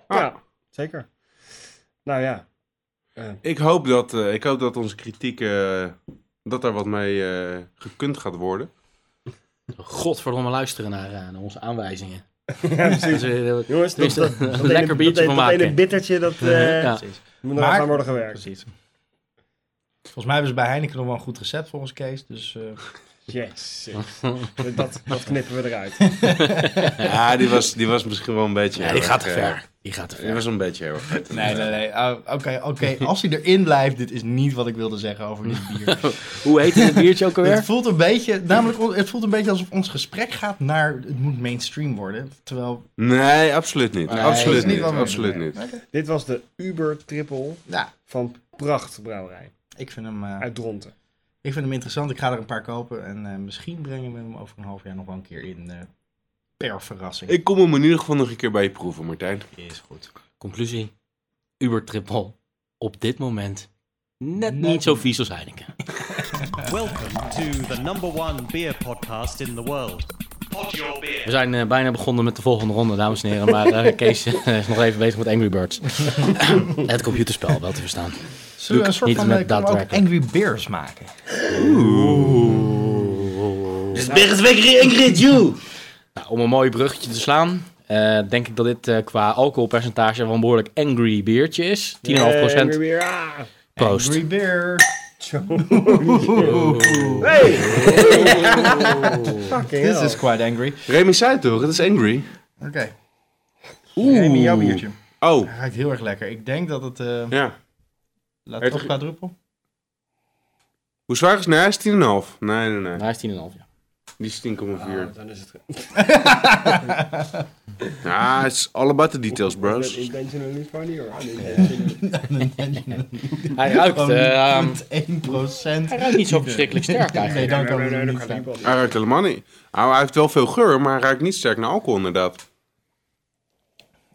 Ja, zeker. Nou ja. Eh, Ik hoop dat, eh, ik hoop dat onze kritiek, eh, dat daar wat mee eh, gekund gaat worden. Godverdomme luisteren naar, eh, naar onze aanwijzingen. ja, precies. Dus, eh, Jongens, dat, Tenminste, dat, dat een lekker ene- biertje van dat, ene- Dat maken. ene bittertje, dat eh, ja. Precies. moet nog Maar- aan worden gewerkt. Precies. Volgens mij hebben ze bij Heineken nog wel een goed recept volgens Kees. Dus eh, Yes. dat, dat knippen we eruit. Ja, die was, die was misschien wel een beetje... Ja, heel die gaat te erg, eh, ver. Die gaat te Die ver. was een beetje heel erg vet. nee, nee, nee. Oh, Oké, oké. Als hij erin blijft, dit is niet wat ik wilde zeggen over dit bier. Hoe heet het biertje ook het alweer? voelt een beetje, namelijk, on- het voelt een beetje alsof ons gesprek gaat naar het moet mainstream worden. Terwijl, Nee, absoluut niet. Nee, dat absoluut is niet niet. wat we absoluut doen. niet. Dit was de Uber Triple nou, van Pracht Brouwerij ik vind hem, eh, uit Dronten. ik vind hem interessant. Ik ga er een paar kopen en eh, misschien brengen we hem over een half jaar nog wel een keer in. eh, per verrassing. Ik kom hem in ieder geval nog een keer bij je proeven, Martijn. Is goed. Conclusie. Uber Triple. Op dit moment net niet zo vies als Heineken. Welcome to the number one beer podcast in the world. Pod your beer. We zijn eh, bijna begonnen met de volgende ronde, dames en heren. Maar eh, Kees eh, is nog even bezig met Angry Birds. het computerspel, wel te verstaan. Zullen we Doe een ik soort niet van met eh, kunnen we ook daadwerkelijk. Angry Bears maken? Nou, om een mooi bruggetje te slaan, eh, denk ik dat dit eh, qua alcoholpercentage wel een behoorlijk angry biertje is. 10,5 Eh, weer- procent. weer- ah. Proost. Angry Bear. Hey! Fucking This hell. is quite angry. Remy zei het toch, het is angry. Oké. Remy, jouw biertje. Oh, Hij ruikt heel erg lekker. Ik denk dat het... eh ja. laat het Dertig- op quadruple. Hoe zwaar is het? Nee, hij is 10,5. Nee, nee, nee. Hij is 10,5, ja. Die is 10,4. Ah, dan is het Ja, het is all about the details, Is dat bros. Intentionally funny or unintentionally? Hij ruikt, eh, ehm, 1 procent. hij ruikt niet zo verschrikkelijk sterk Nee, eigenlijk. dan Nee, kan nee, het nee, niet dat kan zijn. niemand. Hij ruikt helemaal niet. Nou, hij heeft wel veel geur, maar hij ruikt niet sterk naar alcohol, inderdaad.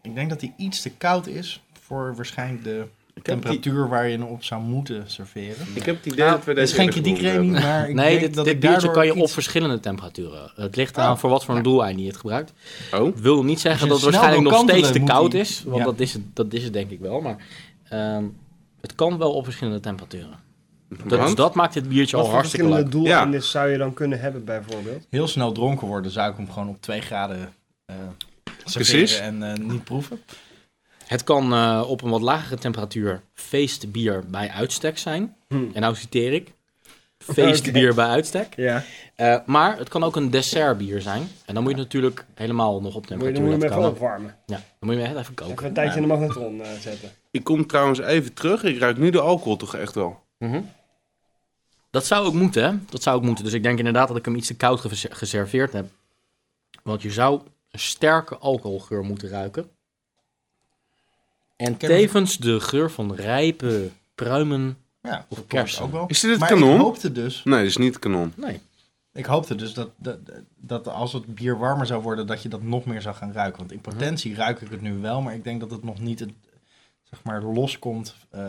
Ik denk dat hij iets te koud is voor waarschijnlijk de temperatuur waar je hem op zou moeten serveren. Ik heb het idee Nou, dat we Dat is deze geen eerder kritiek, geproefd Remy, maar ik Nee, denk dit, dat dit ik biertje daardoor kan je op iets... verschillende temperaturen. Het ligt eraan voor wat voor een doeleinde je het gebruikt. hebben. Oh, Ik wil niet zeggen Als je dat het snel waarschijnlijk nog wil steeds te kantelen, koud moet is. Want Ja. dat, is het, dat is het denk ik wel. Maar ehm, het kan wel op verschillende temperaturen. Dat, dus Want? dat maakt dit biertje Wat al voor hartstikke verschillende leuk. doeleinden zou je dan kunnen hebben bijvoorbeeld? Heel snel dronken worden zou ik hem gewoon op 2 graden eh serveren Precies. en eh, niet proeven. Het kan eh, op een wat lagere temperatuur feestbier bij uitstek zijn. Hm. En nou citeer ik. Feestbier bij uitstek. Ja. Eh, maar het kan ook een dessertbier zijn. En dan moet je het natuurlijk helemaal nog op Moet je, temperatuur dan moet je hem laten even komen. opwarmen. Ja, dan moet je hem echt even Even koken. een tijdje in de magnetron eh, zetten. ik kom trouwens even terug. Ik ruik nu de alcohol toch echt wel. Dat zou ook moeten, hè? Dat zou ook moeten. Dus ik denk inderdaad dat ik hem iets te koud geve- geserveerd heb. Want je zou een sterke alcoholgeur moeten ruiken. En ken tevens de geur van rijpe pruimen. Ja, Of dat kersen. ook wel. Is dit het maar kanon? ik hoopte dus Nee, dat is niet kanon. Nee. Ik hoopte dus dat, dat, dat als het bier warmer zou worden, dat je dat nog meer zou gaan ruiken. Want in Mhm. potentie ruik ik het nu wel, maar ik denk dat het nog niet het, zeg maar, loskomt. eh.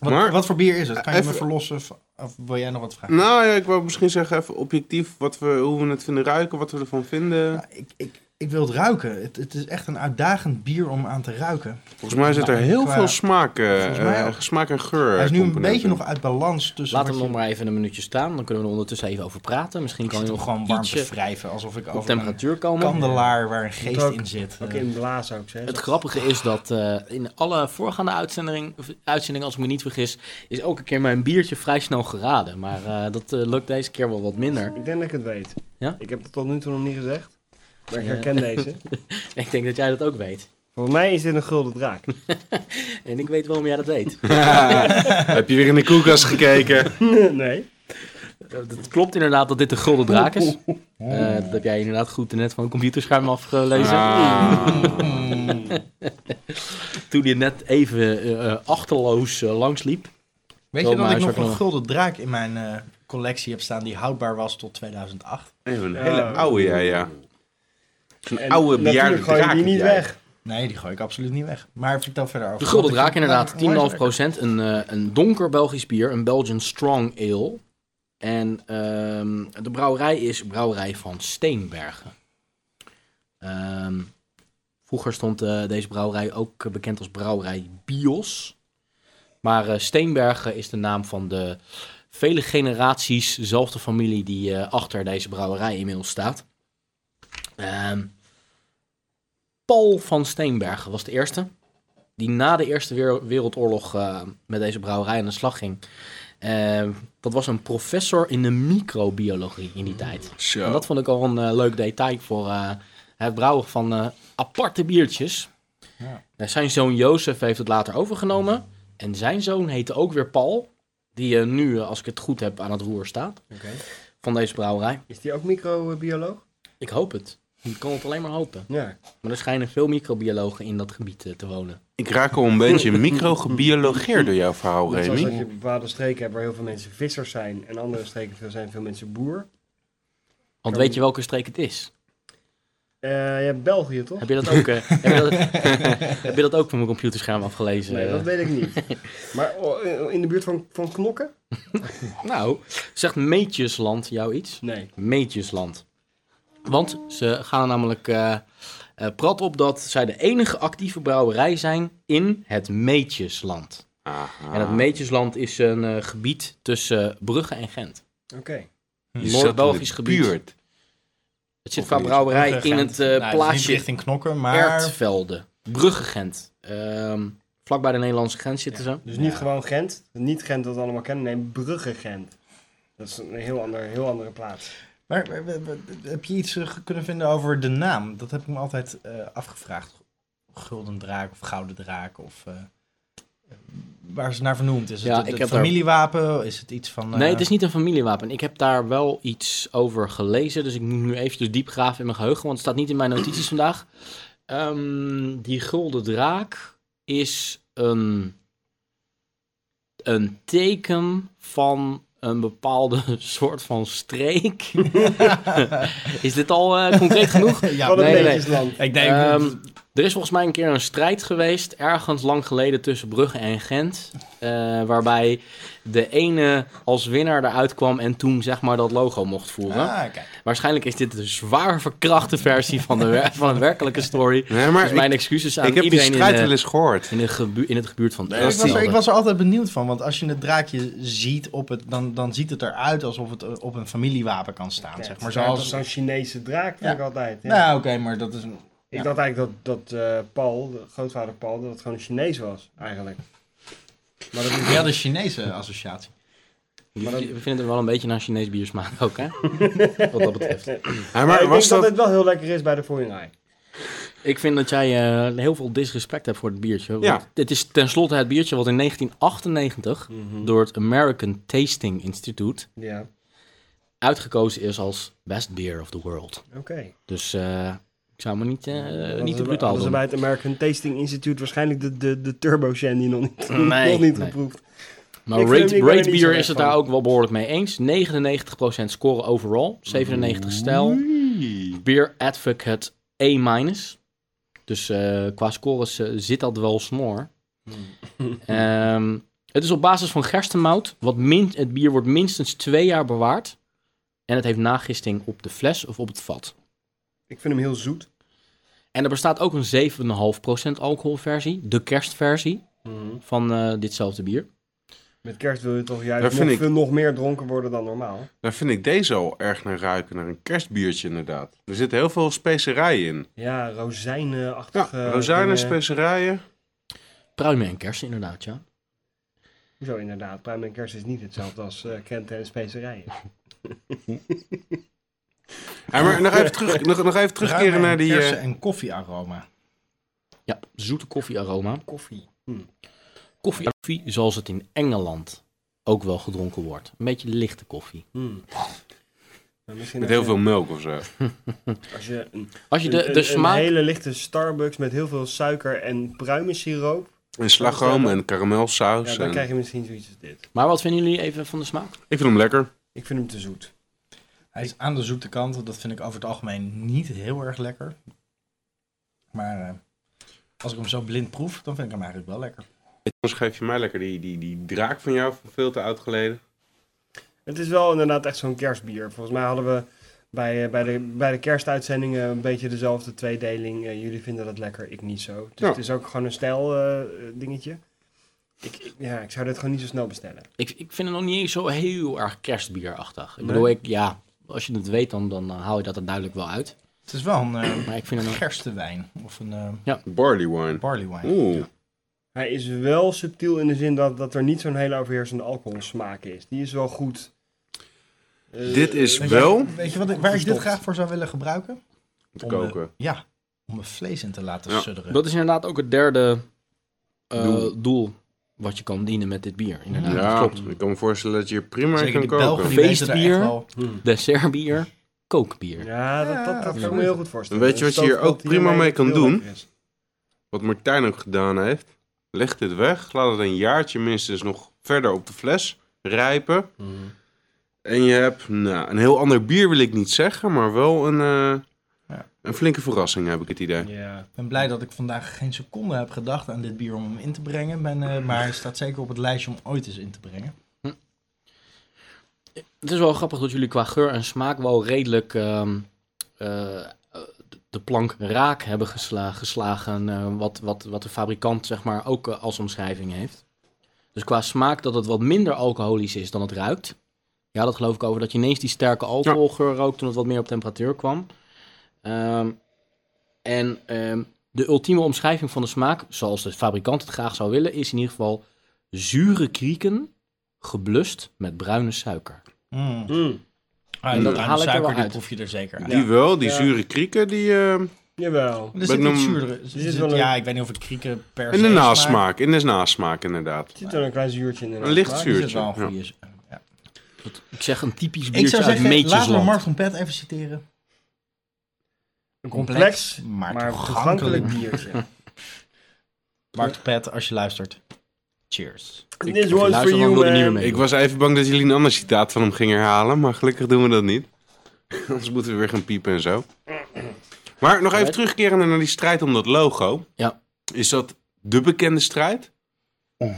wat, Maar- wat voor bier is het? Kan je Even- me verlossen? Of, of wil jij nog wat vragen? Nou ja, ik wou misschien zeggen even objectief wat we, hoe we het vinden ruiken, wat we ervan vinden. Nou, ik, ik, ik wil het ruiken. Het, het is echt een uitdagend bier om aan te ruiken. Volgens mij zit er Nou, heel qua- veel smaak, eh, Volgens mij ook. eh, smaak en geur. Hij is nu een componenten. beetje nog uit balans tussen. Laat hem wat je- nog maar even een minuutje staan. Dan kunnen we er ondertussen even over praten. Misschien Ik kan zit hij hem nog gewoon gewoon warm te ietsje wrijven. Alsof ik op over een temperatuur komen. kandelaar waar een geest Ook- in zit. Ook eh, in blaas ook, zeg. Het grappige is dat eh, in alle voorgaande uitzending, uitzending, als ik me niet vergis, is elke keer mijn biertje vrij snel geraden. Maar eh, dat eh, lukt deze keer wel wat minder. Ik denk dat ik het weet. Ja? Ik heb het tot nu toe nog niet gezegd. Maar ik Ja. herken deze. Ik denk dat jij dat ook weet. Volgens mij is dit een gulden draak. En ik weet waarom jij dat weet. Heb je weer in de koelkast gekeken? nee. Het klopt inderdaad dat dit de Gulden Draak is. Eh, dat heb jij inderdaad goed net van een computerscherm afgelezen. Ah. Toen je net even eh, eh, achterloos eh, langsliep. Wel, Weet je dat maar ik is nog ook een nog- gulden draak in mijn eh, collectie heb staan die houdbaar was tot 2008? Even een hele Ah. oude, ja, ja. En oude bejaarde natuurlijk gooi je draak die niet heb jij. weg. Nee, die gooi ik absoluut niet weg. Maar vertel verder over. De Gulden Want ik Draak vind het inderdaad, 10,5%. namelijk mooi Een, eh, een donker Belgisch bier, een Belgian Strong Ale. En ehm, de brouwerij is brouwerij van Steenbergen. Ehm, vroeger stond eh, deze brouwerij ook eh, bekend als brouwerij Bios. Maar eh, Steenbergen is de naam van de vele generaties, dezelfde familie die eh, achter deze brouwerij inmiddels staat. Ehm, Paul van Steenbergen was de eerste die na de Eerste Wer- Wereldoorlog eh, met deze brouwerij aan de slag ging. Eh, dat was een professor in de microbiologie in die tijd. En Zo. dat vond ik al een eh, leuk detail voor eh, het brouwen van eh, aparte biertjes. Ja. Nou, zijn zoon Jozef heeft het later overgenomen. En zijn zoon heette ook weer Paul. Die eh, nu, eh, als ik het goed heb, aan het roer staat Oké. van deze brouwerij. Is die ook microbioloog? Ik hoop het. Ik kan het alleen maar hopen. Ja. Maar er schijnen veel microbiologen in dat gebied eh, te wonen. Ik raak al een beetje microgebiologeerd door jouw verhaal, Net zoals dat Remy. je bepaalde streken hebt waar heel veel mensen vissers zijn. En andere streken veel- zijn veel mensen boer. Want weet je welke streek het is? Eh, je hebt België, toch? Heb je dat ook, eh, heb, je dat, heb je dat ook van mijn computerscherm afgelezen? Nee, dat weet ik niet. Maar oh, in de buurt van, van Knokken? Nou, zegt Meetjesland jou iets? Nee. Meetjesland. Want ze gaan namelijk eh, eh, prat op dat zij de enige actieve brouwerij zijn in het Meetjesland. Aha. En het Meetjesland is een eh, gebied tussen Brugge en Gent. Oké. Je zat in de Noord-Belgisch gebied. buurt. Het zit Of qua niet? brouwerij Brugge, in Gent. het eh, Nou, niet plaatsje richting knokken, maar. Ertvelde. Brugge-Gent. Ehm, vlakbij de Nederlandse grens zitten ze. Dus niet Ja. gewoon Gent. Niet Gent dat we allemaal kennen. Nee, Brugge-Gent. Dat is een heel, ander, heel andere plaats. Maar, maar- maar- maar- heb je iets eh, kunnen vinden over de naam? Dat heb ik me altijd eh, afgevraagd. Gulden draak of gouden draak of. eh, waar ze naar vernoemd is. Ja, het, ik het heb daar- familiewapen? Is het iets van. eh, Nee, het is niet een familiewapen. Ik heb daar wel iets over gelezen. Dus ik moet nu eventjes diep graven in mijn geheugen. Want het staat niet in mijn notities vandaag. Ehm, die gulden draak is een, een teken van een bepaalde soort van streek. is dit al eh, concreet genoeg? ja, Wat een nee, nee. beetjesland. Ik denk. Ehm, er is volgens mij een keer een strijd geweest, ergens lang geleden tussen Brugge en Gent. eh, waarbij de ene als winnaar eruit kwam en toen zeg maar dat logo mocht voeren. ah, kijk. Waarschijnlijk is dit de zwaar verkrachte versie van de, wer- van een werkelijke story. Nee, maar dus mijn ik, excuses aan ik heb die iedereen in strijd wel de, eens gehoord. in, de gebu- in het gebuurt van Nee, Ik was, er, Elst. ik was er altijd benieuwd van, want als je het draakje ziet, op het, dan, dan ziet het eruit alsof het eh, op een familiewapen kan staan. Ja, zeg het maar is eigenlijk zoals. Zo'n Chinese draak vind Ja. ik altijd. ja. Nou, oké, maar dat is. een- Ik dacht eigenlijk dat, dat eh, Paul, de grootvader Paul, dat het gewoon een Chinees was, eigenlijk. Maar dat is Ja, de Chinese associatie. We vinden het wel een beetje naar Chinees bier smaak ook, hè? Wat dat betreft. Ja, Maar maar ik denk was dat... dat... het wel heel lekker is bij de Foyenrai. Ik vind dat jij eh, heel veel disrespect hebt voor het biertje. Want Ja. Dit is tenslotte het biertje wat in 1998 Mhm. door het American Tasting Institute Ja, uitgekozen is als Best Beer of the World. oké. Dus eh, ik zou me niet, eh, Dat niet te is- brutaal Dat is doen. bij het American Tasting Institute waarschijnlijk de, de, de Turbo Shandy nog niet, Nee, nog niet nee. geproefd. Maar Ik vind Rate, hem- ik ben er rate niet Beer zo is het erg daar van. ook wel behoorlijk mee eens. 99% score overall, 97 stijl. Beer Advocate A-. Dus eh, qua scores eh, zit dat wel snor. Hmm. Ehm, het is op basis van gerstenmout. Wat min- het bier wordt minstens twee jaar bewaard. En het heeft nagisting op de fles of op het vat. Ik vind hem heel zoet. En er bestaat ook een 7,5% alcoholversie, de kerstversie Mhm. van eh, ditzelfde bier. Met kerst wil je toch Daar juist nog, vind ik- veel- nog meer dronken worden dan normaal. Daar vind ik deze al erg naar ruiken, naar een kerstbiertje inderdaad. Er zit heel veel specerijen in. Ja, rozijnenachtige... Ja, rozijnen, dingen. specerijen. Pruimen en kersen inderdaad, ja. Zo inderdaad, pruim en kerst is niet hetzelfde als eh krenten en specerijen. Ja, maar nog even, terug, nog, nog even terugkeren Ruimen en naar die... eh, kersen en koffiearoma. Ja, zoete koffiearoma. Koffie. Hm. Koffie, koffie zoals het in Engeland ook wel gedronken wordt. Een beetje lichte koffie. Hm. Maar Nou, misschien met als heel veel melk of zo. je- Als je een, Als je een- de, een- de een smaak... hele lichte Starbucks met heel veel suiker en pruimensiroop... En slagroom en karamelsaus. Ja, dan en- krijg je misschien zoiets als dit. Maar wat vinden jullie even van de smaak? Ik vind hem lekker. Ik vind hem te zoet. Hij is aan de zoete kant. Dat vind ik over het algemeen niet heel erg lekker. Maar eh, als ik hem zo blind proef, dan vind ik hem eigenlijk wel lekker. Anders geef je mij lekker die, die, die draak van jou van veel te oud geleden. Het is wel inderdaad echt zo'n kerstbier. Volgens mij hadden we bij, eh, bij, de, bij de kerstuitzendingen een beetje dezelfde tweedeling. Eh, jullie vinden dat lekker, ik niet zo. Dus Ja. het is ook gewoon een stijl eh, dingetje. Ik, ik- ja, ik zou dit gewoon niet zo snel bestellen. Ik, ik vind het nog niet eens zo heel erg kerstbierachtig. Ik Nee? bedoel, ik, ja, als je het weet, dan, dan eh, haal je dat er duidelijk wel uit. Het is wel een eh Maar ik vind het nog... gerstewijn of een eh, Barley wine. barley wine. Oeh. Hij is wel subtiel in de zin dat, dat er niet zo'n hele overheersende alcoholsmaak is. Die is wel goed. Eh, Dit is Weet je- wel Weet je wat, ik- waar ik dit Verstopt. graag voor zou willen gebruiken? te Om de- koken. ja, om mijn vlees in te laten Ja. sudderen. Dat is inderdaad ook het derde eh, Doel. doel. wat je kan dienen met dit bier. Inderdaad, Ja, dat klopt. ik kan me voorstellen dat je hier prima in Zeker kan die Belgen, koken. die weten er echt Feestbier. wel... hm. Dessertbier, kookbier. Ja, dat, dat, dat kan ik me heel goed voorstellen. Weet je Een wat je hier stoofpot ook prima mee kan heel doen? lekker is. Wat Martijn ook gedaan heeft. Leg dit weg. Laat het een jaartje minstens nog verder op de fles rijpen. En je hebt nou, een heel ander bier wil ik niet zeggen. Maar wel een, eh, Ja. een flinke verrassing heb ik het idee. Ja. Ik ben blij dat ik vandaag geen seconde heb gedacht aan dit bier om hem in te brengen. Ik Ben, eh, maar hij staat zeker op het lijstje om ooit eens in te brengen. Het is wel grappig dat jullie qua geur en smaak wel redelijk ehm, eh, eh, de plank raak hebben gesla- geslagen. eh, wat, wat, wat de fabrikant zeg maar ook eh, als omschrijving heeft. Dus qua smaak dat het wat minder alcoholisch is dan het ruikt. Ja, dat geloof ik over. Dat je ineens die sterke alcoholgeur rookt toen het wat meer op temperatuur kwam. Ehm, en ehm, de ultieme omschrijving van de smaak, zoals de fabrikant het graag zou willen, is in ieder geval zure krieken geblust met bruine suiker. Mm. En Hm. Ah, die dat bruine haal ik er suiker, wel die uit. proef je er zeker uit. Die wel, die Ja. zure krieken. Die, eh, Jawel. Er Ben zit ik iets nog- zuurder. Er zit zit- wel een- Ja, ik weet niet of het krieken per se in de smaakt. nasmaak. In de nasmaak inderdaad. Er zit wel een klein zuurtje in. Een licht Maar- Er zuur. Oh, zit wel een Ja. goede... z- Ja. Ik zeg een typisch Ik biertje zou uit zeggen, laten we Meetjesland. Mark van Pet even citeren. Een complex, maar, maar toegankelijk. toegankelijk biertje. Mark van Pet, als je luistert. Cheers. This luister one's for dan you, wilde niet meer man. mee. Ik was even bang dat jullie een ander citaat van hem gingen herhalen, maar gelukkig doen we dat niet. Anders moeten we weer gaan piepen en zo. Maar nog even terugkeren naar die strijd om dat logo. Ja. Is dat de bekende strijd? De, je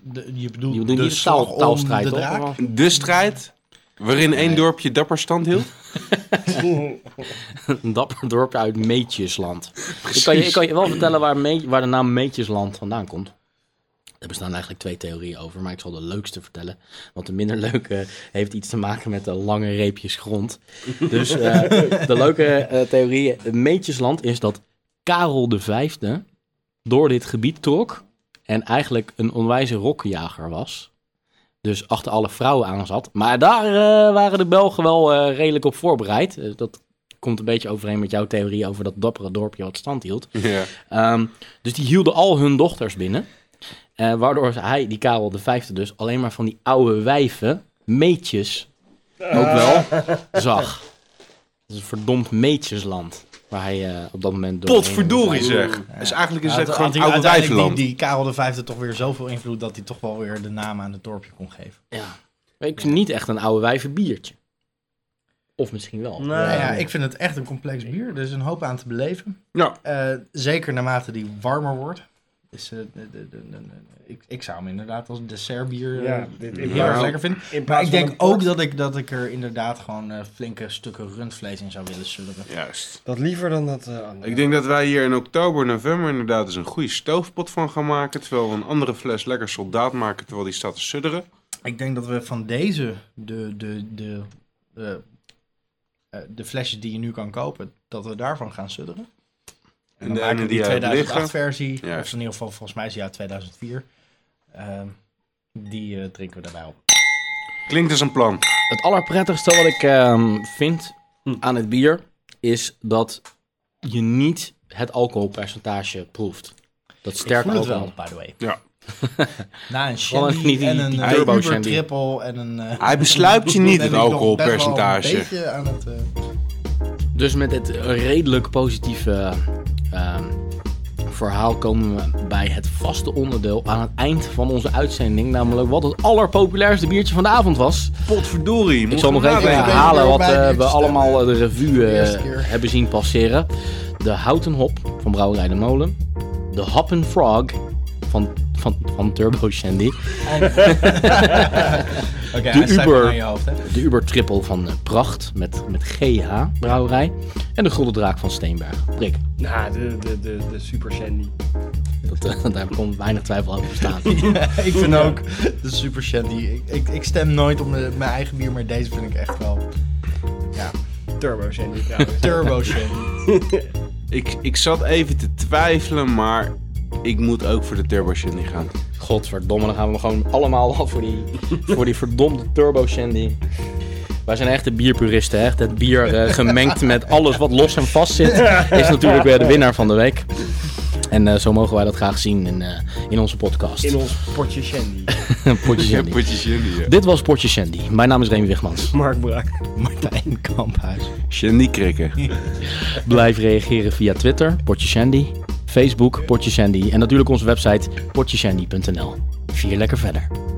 bedoelt Je bedoelt de niet de taal- slag om taalstrijd, de toch? draak? De strijd waarin één dorpje dapper stand hield? Een dapper dorp uit Meetjesland. Ik kan, je, ik kan je wel vertellen waar, Meet- waar de naam Meetjesland vandaan komt. Er bestaan eigenlijk twee theorieën over, maar ik zal de leukste vertellen. Want de minder leuke heeft iets te maken met de lange reepjes grond. Dus eh, de leuke eh, theorie, Meetjesland, is dat Karel V door dit gebied trok. En eigenlijk een onwijze rokkenjager was. Dus achter alle vrouwen aan zat. Maar daar eh, waren de Belgen wel eh, redelijk op voorbereid. Eh, dat komt een beetje overeen met jouw theorie over dat dappere dorpje wat stand hield. Ja. Ehm, dus die hielden al hun dochters binnen. Eh, waardoor hij, die Karel de Vijfde dus, alleen maar van die oude wijven, meetjes, ook wel, zag. Het is een verdomd meetjesland. Waar hij eh, op dat moment door. Potverdorie zeg. Dus eigenlijk is Ja, het had- gewoon had hij oude uiteindelijk wijvenland. Die, die Karel V toch weer zoveel invloed dat hij toch wel weer de naam aan het dorpje kon geven. Ja. Maar Ik vind niet echt een oude wijven biertje. Of misschien wel. Nou, Nou ja, ik vind het echt een complex bier. Er is een hoop aan te beleven. Ja. Eh, zeker naarmate die warmer wordt. Dus, eh, de- de- de- de- de- ik, ik zou hem inderdaad als dessertbier eh, Ja, dit- in heel erg plaats- lekker vinden. in Maar plaats ik van denk een port- ook dat ik, dat ik er inderdaad gewoon eh, flinke stukken rundvlees in zou willen sudderen. Juist. Dat liever dan dat eh, andere. Ik denk dat wij hier in oktober, november inderdaad eens een goede stoofpot van gaan maken. Terwijl we een andere fles lekker soldaat maken terwijl die staat te sudderen. Ik denk dat we van deze, de, de, de, eh, eh, de flesjes die je nu kan kopen, dat we daarvan gaan sudderen. En dan de maken ene we die uit de 2008 liggen. versie, Juist. of in ieder geval volgens mij is die uit 2004. Ehm, die eh, drinken we daarbij op. Klinkt als een plan. Het allerprettigste wat ik ehm, vind Hm. aan het bier is dat je niet het alcoholpercentage proeft. Dat Ik sterke voel het alcohol. wel, by the way. Ja. Na een Gewoon shandy niet die- en een die eh, turbo Uber shandy. triple en een... eh, Hij besluipt je niet, ben het ik nog alcoholpercentage. best wel een beetje aan het... eh, Dus met dit redelijk positieve ehm, verhaal komen we bij het vaste onderdeel aan het eind van onze uitzending. Namelijk wat het allerpopulairste biertje van de avond was. Potverdorie. Ik moet zal nog hem even nadenken. nadenken. herhalen wat eh, Bij biertjes we stemmen. allemaal eh, de revue eh, eerste keer. hebben zien passeren. De Houten Hop van Brouwerij de Molen. De Hop and Frog van, van, van Turbo Shandy. Oké, hij staat Uber. aan je hoofd, hè? De Uber Triple van eh, Pracht met, met GH Brouwerij. En de Gulden Draak van Steenberg. Prik, Nou, de, de, de, de super Sandy. dat, eh, daar kon weinig twijfel over bestaan. ik vind ook de Super Shandy. Ik, ik, ik stem nooit om de- mijn eigen bier, maar deze vind ik echt wel Turbo Sandy trouwens. Turbo Shandy. Ik, ik zat even te twijfelen, maar ik moet ook voor de Turbo Shandy gaan. Godverdomme, dan gaan we gewoon allemaal af voor die, voor die verdomde turbo shandy. Wij zijn echte bierpuristen, hè. echt. Het bier eh, gemengd met alles wat los en vast zit, is natuurlijk weer de winnaar van de week. En eh, zo mogen wij dat graag zien in, eh, in onze podcast. In ons potje Sandy. Potje Shandy. Potje Shandy, ja. Dit was Potje Shandy. Mijn naam is Remy Wigmans. Mark Braak. Martijn Kamphuis. Shandy krikken. Blijf reageren via Twitter, Potje Shandy, Facebook, Potje Shandy en natuurlijk onze website potjeshandy.nl. Vier lekker verder.